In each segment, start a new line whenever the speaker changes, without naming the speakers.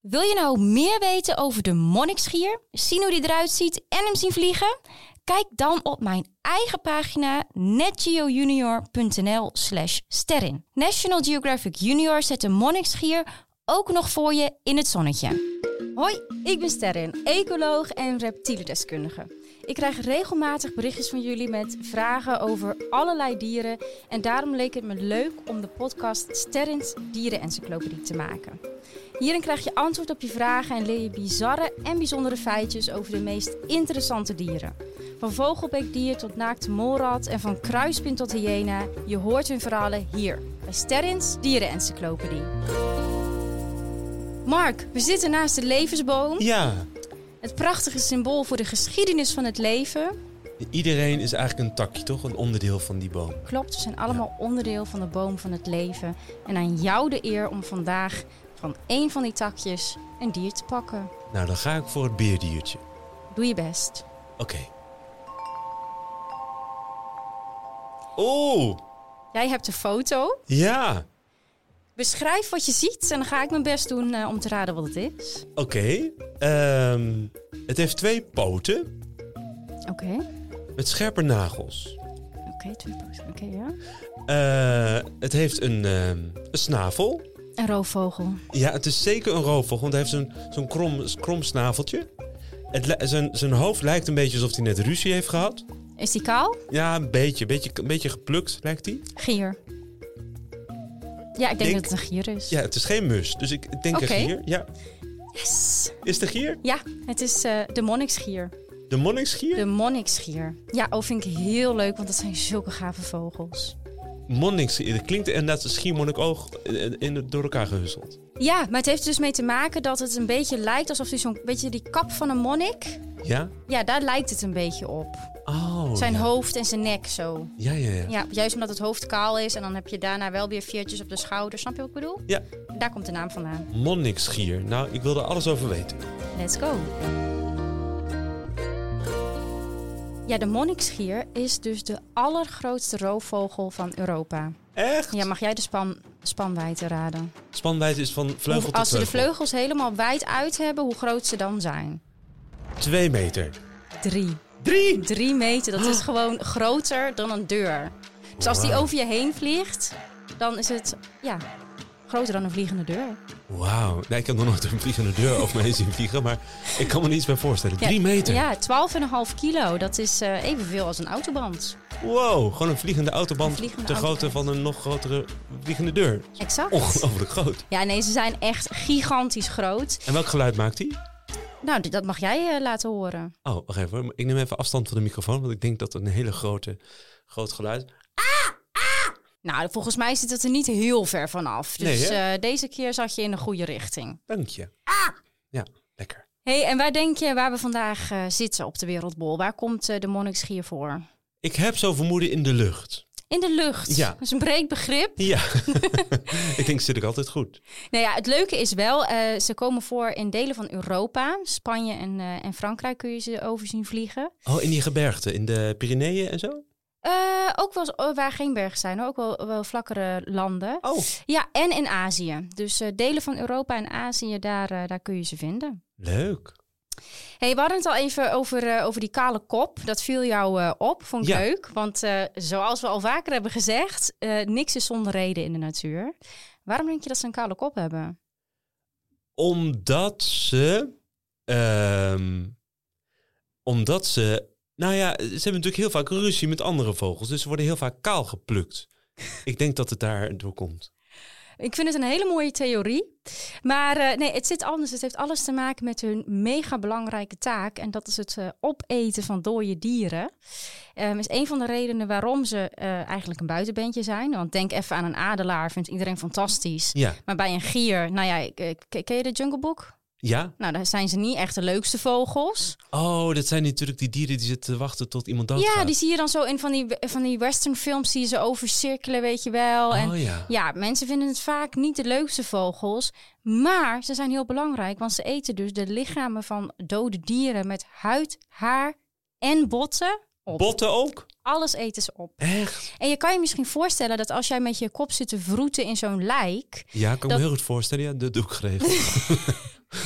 Wil je nou meer weten over de monnikschier, zien hoe die eruit ziet en hem zien vliegen? Kijk dan op mijn eigen pagina netgeojunior.nl slash sterren. National Geographic Junior zet de monnikschier ook nog voor je in het zonnetje. Hoi, ik ben Sterren, ecoloog en reptielendeskundige. Ik krijg regelmatig berichtjes van jullie met vragen over allerlei dieren. En daarom leek het me leuk om de podcast Sterrens Dierenencyclopedie te maken. Hierin krijg je antwoord op je vragen en leer je bizarre en bijzondere feitjes over de meest interessante dieren. Van vogelbekdier tot naakte molrat en van kruispin tot hyena. Je hoort hun verhalen hier bij Sterrens Dierenencyclopedie. Mark, we zitten naast de levensboom.
Ja,
Het prachtige symbool voor de geschiedenis van het leven.
iedereen is eigenlijk een takje, toch? Een onderdeel van die boom.
Klopt, we zijn allemaal onderdeel van de boom van het leven. En aan jou de eer om vandaag van één van die takjes een dier te pakken.
Nou, dan ga ik voor het beerdiertje.
Doe je best.
Oké. Oeh,
Jij hebt de foto.
Oh, ja.
Beschrijf wat je ziet en dan ga ik mijn best doen eh, om te raden wat het is.
Oké. Ehm, het heeft twee poten
Oké,
met scherpe nagels.
oké, twee poten. Oké, ja.
Eh, het heeft een, ehm, een snavel.
Een roofvogel.
Ja, het is zeker een roofvogel, want hij heeft zo'n zo'n krom, krom snaveltje. Het, li- zijn, zijn hoofd lijkt een beetje alsof hij net ruzie heeft gehad.
Is die kaal?
Ja, een beetje. Een beetje, een beetje geplukt lijkt hij.
Gier. Ja, ik denk
Denk-
dat het een gier is.
Ja, het is geen mus, dus ik ik denk
Oké.
een gier. Ja.
Yes!
Is de gier?
Ja, het is eh, de monniksgier.
De monniksgier?
De monniksgier. Ja, oh, vind ik heel leuk, want dat zijn zulke gave vogels.
Monniksgier. Dat klinkt inderdaad een schiermonnikoog eh, in de, door elkaar gehusteld.
Ja, maar het heeft er dus mee te maken dat het een beetje lijkt alsof hij zo'n... Weet je, die kap van een monnik?
Ja?
Ja, daar lijkt het een beetje op.
Oh.
Zijn
ja.
hoofd en zijn nek zo.
Ja, ja, ja.
Ja, juist omdat het hoofd kaal is en dan heb je daarna wel weer veertjes op de schouder. Snap je wat ik bedoel?
Ja.
Daar komt de naam vandaan.
Monniksgier. Nou, ik wil er alles over weten.
Let's go. Ja, de monniksgier is dus de allergrootste roofvogel van Europa.
Echt?
Ja, mag jij de span, spanwijdte raden?
Spanwijdte is van vleugel
Hoe-
tot
als ze de
vleugel.
vleugels helemaal wijd uit hebben, hoe groot ze dan zijn?
Twee meter.
Drie.
Drie!
Drie meter, dat is gewoon groter dan een deur. Dus als die
Oh. Wauw.
over je heen vliegt, dan is het ja, groter dan een vliegende deur.
Wauw. Nee, ik heb nog nooit een vliegende deur over me heen zien vliegen, maar ik kan me niets bij voorstellen.
Ja,
Drie meter.
Ja, 12,5 kilo. Dat is eh, evenveel als een autoband.
Wow, gewoon een vliegende autoband
Een vliegende
ter grootte
autoband.
van een nog grotere vliegende deur.
Exact.
Ongelooflijk groot.
Ja, nee, ze zijn echt gigantisch groot.
En welk geluid maakt hij?
Nou, d- dat mag jij eh, laten horen.
Oh, wacht even. hoor. Ik neem even afstand van de microfoon, want ik denk dat het een hele grote, groot geluid.
Nou, volgens mij zit het er niet heel ver vanaf. Dus
Nee,
eh, deze keer zat je in de goede richting.
Dank je. Ja, lekker.
hey, en waar denk je waar we vandaag eh, zitten op de wereldbol? Waar komt eh, de monniksgier voor?
Ik heb zo vermoeden in de lucht.
In de lucht.
Ja.
Dat is een breed begrip.
Ja, ik denk zit ik altijd goed.
Nou ja, het leuke is wel, eh, ze komen voor in delen van Europa. Spanje en, eh, en Frankrijk kun je ze over zien vliegen.
Oh, in die gebergte, in de Pyreneeën en zo?
Eh, ook wel eens, eh, waar geen bergen zijn, hoor. ook wel, wel vlakkere landen.
Oh,
Ja, en in Azië. Dus eh, delen van Europa en Azië, daar, eh, daar kun je ze vinden.
leuk.
Hey, we hadden het al even over, eh, over die kale kop. Dat viel jou eh, op, vond ik
Ja.
leuk. Want eh, zoals we al vaker hebben gezegd, eh, niks is zonder reden in de natuur. Waarom denk je dat ze een kale kop hebben?
Omdat ze. ehm, omdat ze. Nou ja, ze hebben natuurlijk heel vaak ruzie met andere vogels. Dus ze worden heel vaak kaal geplukt. Ik denk dat het daardoor komt.
Ik vind het een hele mooie theorie. Maar eh, nee, het zit anders. Het heeft alles te maken met hun mega belangrijke taak. En dat is het eh, opeten van dode dieren. Ehm is een van de redenen waarom ze eh, eigenlijk een buitenbeentje zijn. Want denk even aan een adelaar, vindt iedereen fantastisch.
Ja.
Maar bij een gier, nou ja, ik- ik- ken je de Jungle Book?
Ja?
Nou, daar zijn ze niet echt de leukste vogels.
Oh, dat zijn natuurlijk die dieren die zitten te wachten tot iemand doodgaat.
ja, die zie je dan zo in van die, van die westernfilms, zie je ze overcirkelen, weet je wel. en
Oh ja.
ja, mensen vinden het vaak niet de leukste vogels. Maar ze zijn heel belangrijk, want ze eten dus de lichamen van dode dieren met huid, haar en botten op.
Botten ook?
Alles eten ze op.
Echt?
En je kan je misschien voorstellen dat als jij met je kop zit te vroeten in zo'n lijk,
Ja, kan ik
Dat-
me heel goed voorstellen. Ja, dat doe ik geregeld.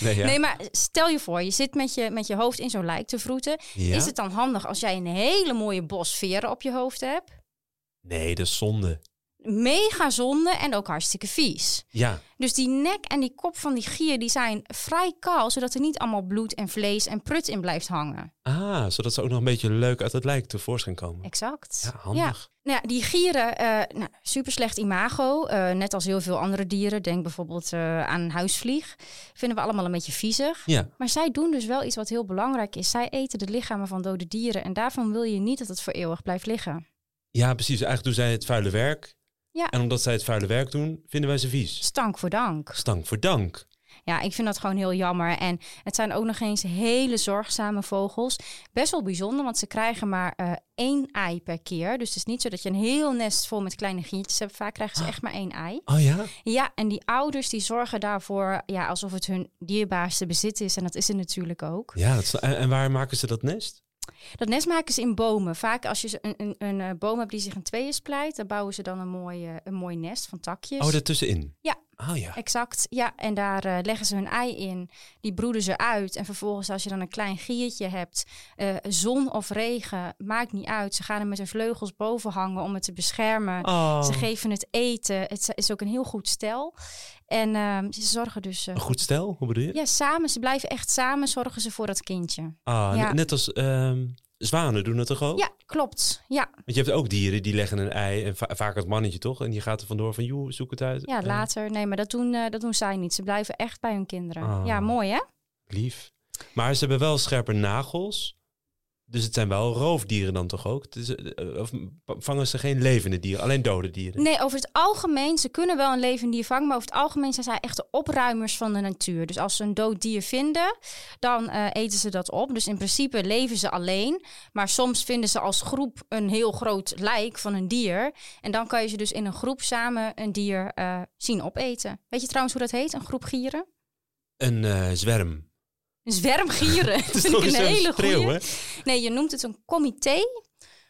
Nee, ja.
Nee, maar stel je voor, je zit met je, met je hoofd in zo'n lijk te vroeten.
Ja?
Is het dan handig als jij een hele mooie bos veren op je hoofd hebt?
nee, dat is zonde.
Mega zonde en ook hartstikke vies.
Ja,
Dus die nek en die kop van die gier die zijn vrij kaal, zodat er niet allemaal bloed en vlees en prut in blijft hangen.
ah, zodat ze ook nog een beetje leuk uit het lijk tevoorschijn komen.
Exact.
Ja, handig.
Nou ja, die gieren, eh nou, super slecht imago. eh, net als heel veel andere dieren. Denk bijvoorbeeld eh, aan een huisvlieg. Vinden we allemaal een beetje viezig.
Ja.
Maar zij doen dus wel iets wat heel belangrijk is. Zij eten de lichamen van dode dieren. En daarvan wil je niet dat het voor eeuwig blijft liggen.
ja, precies. Eigenlijk doen zij het vuile werk.
Ja.
En omdat zij het vuile werk doen, vinden wij ze vies.
Stank voor dank.
Stank voor dank.
Ja, ik vind dat gewoon heel jammer. En het zijn ook nog eens hele zorgzame vogels. Best wel bijzonder, want ze krijgen maar eh, één ei per keer. Dus het is niet zo dat je een heel nest vol met kleine giertjes hebt. Vaak krijgen ze echt maar één ei.
Oh ja?
Ja, en die ouders die zorgen daarvoor ja, alsof het hun dierbaarste bezit is. En dat is het natuurlijk ook.
Ja, dat is- en, en waar maken ze dat nest?
Dat nest maken ze in bomen. Vaak als je ze- een, een, een eh, boom hebt die zich in tweeën splijt, dan bouwen ze dan een mooi, eh, een mooi nest van takjes.
Oh, daartussenin?
Dus- Ja.
Oh ja.
Exact, ja. En daar eh, leggen ze hun ei in. Die broeden ze uit. En vervolgens als je dan een klein giertje hebt, eh, zon of regen, maakt niet uit. Ze gaan er met hun vleugels boven hangen om het te beschermen.
Oh.
Ze geven het eten. Het is ook een heel goed stel. En ehm, ze zorgen dus eh,
Een goed stel, hoe bedoel je?
Ja, samen. Ze blijven echt samen zorgen ze voor dat kindje.
Ah,
Ja.
ne- net als ehm, zwanen doen dat toch ook?
Ja, klopt. Ja,
Want je hebt ook dieren die leggen een ei, en va- vaak het mannetje toch? En die gaat er vandoor van, joh, zoek het uit.
ja
Eh,
later. Nee, maar dat doen, eh, dat doen zij niet. Ze blijven echt bij hun kinderen.
Ah.
Ja, mooi hè?
Lief. Maar ze hebben wel scherpe nagels. Dus het zijn wel roofdieren dan toch ook? Het is, eh, of vangen ze geen levende dieren, alleen dode dieren?
Nee, over het algemeen, ze kunnen wel een levend dier vangen, maar over het algemeen zijn zij echt de opruimers van de natuur. Dus als ze een dood dier vinden, dan eh, eten ze dat op. Dus in principe leven ze alleen, maar soms vinden ze als groep een heel groot lijk van een dier. En dan kan je ze dus in een groep samen een dier eh, zien opeten. Weet je trouwens hoe dat heet, een groep gieren?
Een eh, zwerm.
Een zwerm gieren. dat vind ik
eens
een
zo'n
hele
schreeuw,
goeie.
hè?
Nee, je noemt het een comité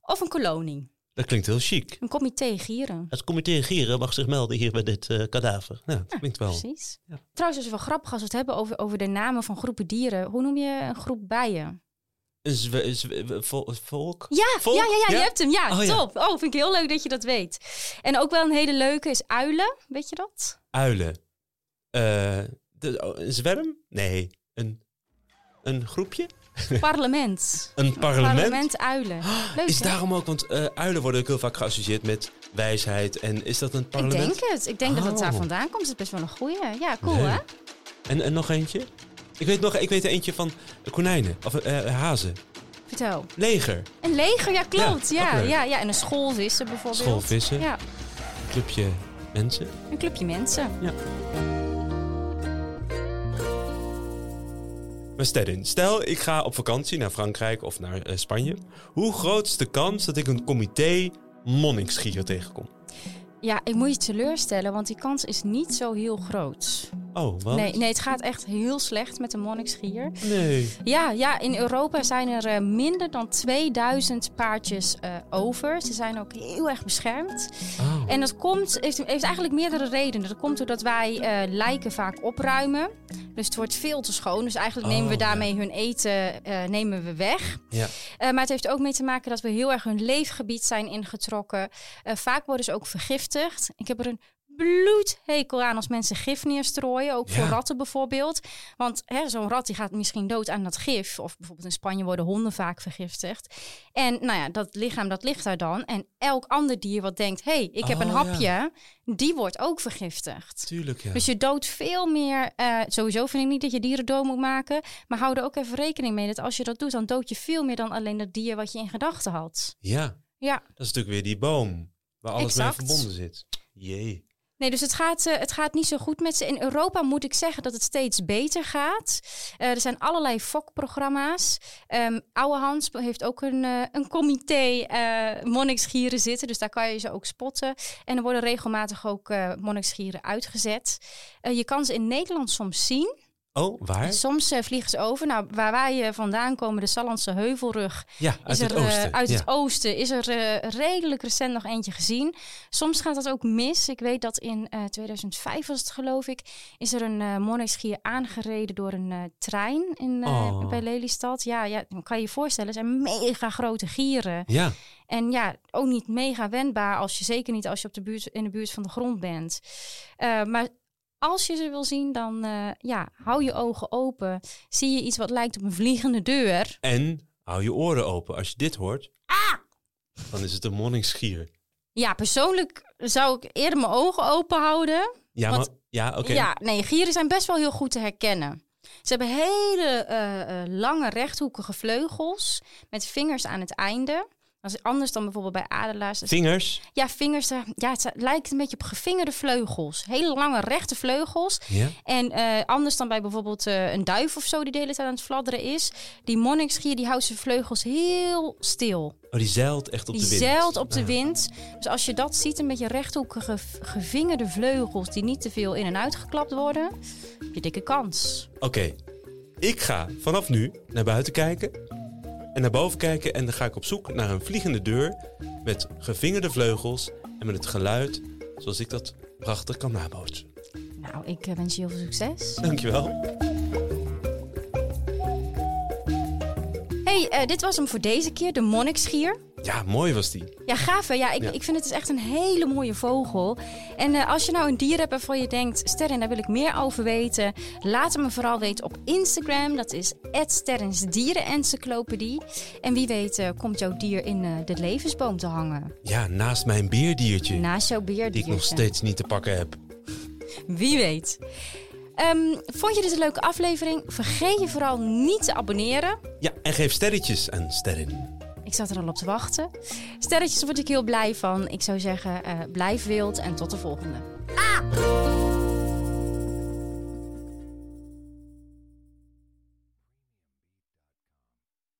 of een kolonie.
Dat klinkt heel chic.
Een comité gieren.
Het comité Gieren mag zich melden hier bij dit eh, kadaver. Nou, dat klinkt wel.
Precies.
Ja.
Trouwens, is het wel grappig als we het hebben over, over de namen van groepen dieren. Hoe noem je een groep bijen?
Een zwe- zwe- vol- volk?
Ja,
Volk?
ja, ja, ja,
Ja?
je hebt hem. Ja,
Oh, ja.
top. Oh, vind ik heel leuk dat je dat weet. En ook wel een hele leuke is uilen. Weet je dat?
Uilen. Eh, de- oh, een zwerm? Nee. Een, een groepje?
Parlement.
Een parlement?
uilen. Leuk,
Is
hè?
daarom ook, want eh, uilen worden ook heel vaak geassocieerd met wijsheid. En is dat een
Ik
parlement?
denk het. Ik denk dat het daar
Oh.
vandaan komt. Het is best wel een goeie. Ja, cool
Leuk.
hè?
En, en nog eentje? Ik weet nog ik weet er eentje van konijnen. Of eh, hazen.
Vertel.
Leger.
Een leger, ja klopt.
Ja, ook
Ja, ja,
leuk.
ja, En een schoolvisser bijvoorbeeld.
Schoolvissen.
Ja,
Clubje mensen.
een clubje mensen.
Maar stel in, stel ik ga op vakantie naar Frankrijk of naar eh, Spanje. Hoe groot is de kans dat ik een comité monnikschier tegenkom?
Ja, ik moet je teleurstellen, want die kans is niet zo heel groot.
Oh, wat?
Nee, nee, het gaat echt heel slecht met de monniksgier.
Nee.
Ja, ja, in Europa zijn er eh, minder dan 2000 paardjes eh, over. Ze zijn ook heel erg beschermd.
Oh.
En dat komt, heeft, heeft eigenlijk meerdere redenen. Dat komt doordat wij eh, lijken vaak opruimen. Dus het wordt veel te schoon. Dus eigenlijk nemen we
Oh, ja.
daarmee hun eten eh, nemen we weg.
Ja.
Eh, maar het heeft ook mee te maken dat we heel erg hun leefgebied zijn ingetrokken. Eh, vaak worden ze ook vergiftigd. Ik heb er een bloedhekel aan als mensen gif neerstrooien. Ook voor
Ja.
ratten bijvoorbeeld. Want hè, zo'n rat die gaat misschien dood aan dat gif. Of bijvoorbeeld in Spanje worden honden vaak vergiftigd. En nou ja, dat lichaam dat ligt daar dan. En elk ander dier wat denkt, hé, hey, ik heb
Oh,
een
ja.
hapje, die wordt ook vergiftigd.
Tuurlijk, ja.
Dus je doodt veel meer. eh, sowieso vind ik niet dat je dieren dood moet maken. Maar hou er ook even rekening mee dat als je dat doet, dan dood je veel meer dan alleen dat dier wat je in gedachten had.
Ja,
Ja,
dat is natuurlijk weer die boom waar alles mee
Exact.
verbonden zit. Jee.
nee, dus het gaat, eh, het gaat niet zo goed met ze. In Europa moet ik zeggen dat het steeds beter gaat. Eh, er zijn allerlei fokprogramma's. Ehm Oude Hans heeft ook een, eh, een comité eh monniksgieren zitten, dus daar kan je ze ook spotten. En er worden regelmatig ook eh monniksgieren uitgezet. Eh, je kan ze in Nederland soms zien.
Oh, waar?
Soms eh, vliegen ze over. Nou, waar wij eh, vandaan komen, de Sallandse heuvelrug,
Ja, uit
is er,
het
eh,
oosten.
uit
ja.
het oosten is er eh, redelijk recent nog eentje gezien. Soms gaat dat ook mis. Ik weet dat in eh, 2005 was het geloof ik, is er een eh monnikschier aangereden door een eh, trein in, eh,
Oh.
bij Lelystad. Ja, ja, dan kan je je voorstellen, het zijn mega grote gieren.
ja.
En ja, ook niet mega wendbaar als je zeker niet als je op de buurt, in de buurt van de grond bent. Eh, maar als je ze wil zien, dan eh, ja, hou je ogen open. Zie je iets wat lijkt op een vliegende deur?
En hou je oren open. Als je dit hoort,
Ah!
dan is het een monniksgier.
Ja, persoonlijk zou ik eerder mijn ogen open houden.
Ja,
Want-
maar, ja oké.
Ja, nee, gieren zijn best wel heel goed te herkennen. Ze hebben hele eh, eh, lange rechthoekige vleugels met vingers aan het einde. Dat is anders dan bijvoorbeeld bij adelaars. Dat
Vingers.
Ja, vingers. eh, Ja, het lijkt een beetje op gevingerde vleugels. Hele lange rechte vleugels.
Ja.
En eh, anders dan bij bijvoorbeeld eh, een duif of zo die de hele tijd aan het fladderen is. Die monniksgier die houdt zijn vleugels heel stil.
Oh, die zeilt echt op
die
de wind.
zeilt op de
Ah.
wind. Dus als je dat ziet, een beetje rechthoekige v- gevingerde vleugels die niet te veel in en uitgeklapt worden, heb je dikke kans.
Oké, ik ga vanaf nu naar buiten kijken en naar boven kijken en dan ga ik op zoek naar een vliegende deur met gevingerde vleugels en met het geluid zoals ik dat prachtig kan nabootsen.
Nou, ik eh, wens je heel veel succes.
Dankjewel.
hey, eh, dit was hem voor deze keer, de monniksgier.
Ja, mooi was die.
Ja, gaaf hè? Ja, ik,
Ja.
ik vind het is echt een hele mooie vogel. En eh, als je nou een dier hebt waarvan je denkt... Sterren, daar wil ik meer over weten... laat het me vooral weten op Instagram. Dat is Sterrens Dierenencyclopedie. En wie weet eh, komt jouw dier in eh, de levensboom te hangen.
Ja, naast mijn beerdiertje
Naast jouw
die ik
beerdiertje.
nog steeds niet te pakken heb.
Wie weet. Ehm, vond je dit een leuke aflevering? Vergeet je vooral niet te abonneren.
Ja, en geef sterretjes aan sterren.
Ik zat er al op te wachten. Sterretjes word ik heel blij van. Ik zou zeggen, eh, blijf wild en tot de volgende.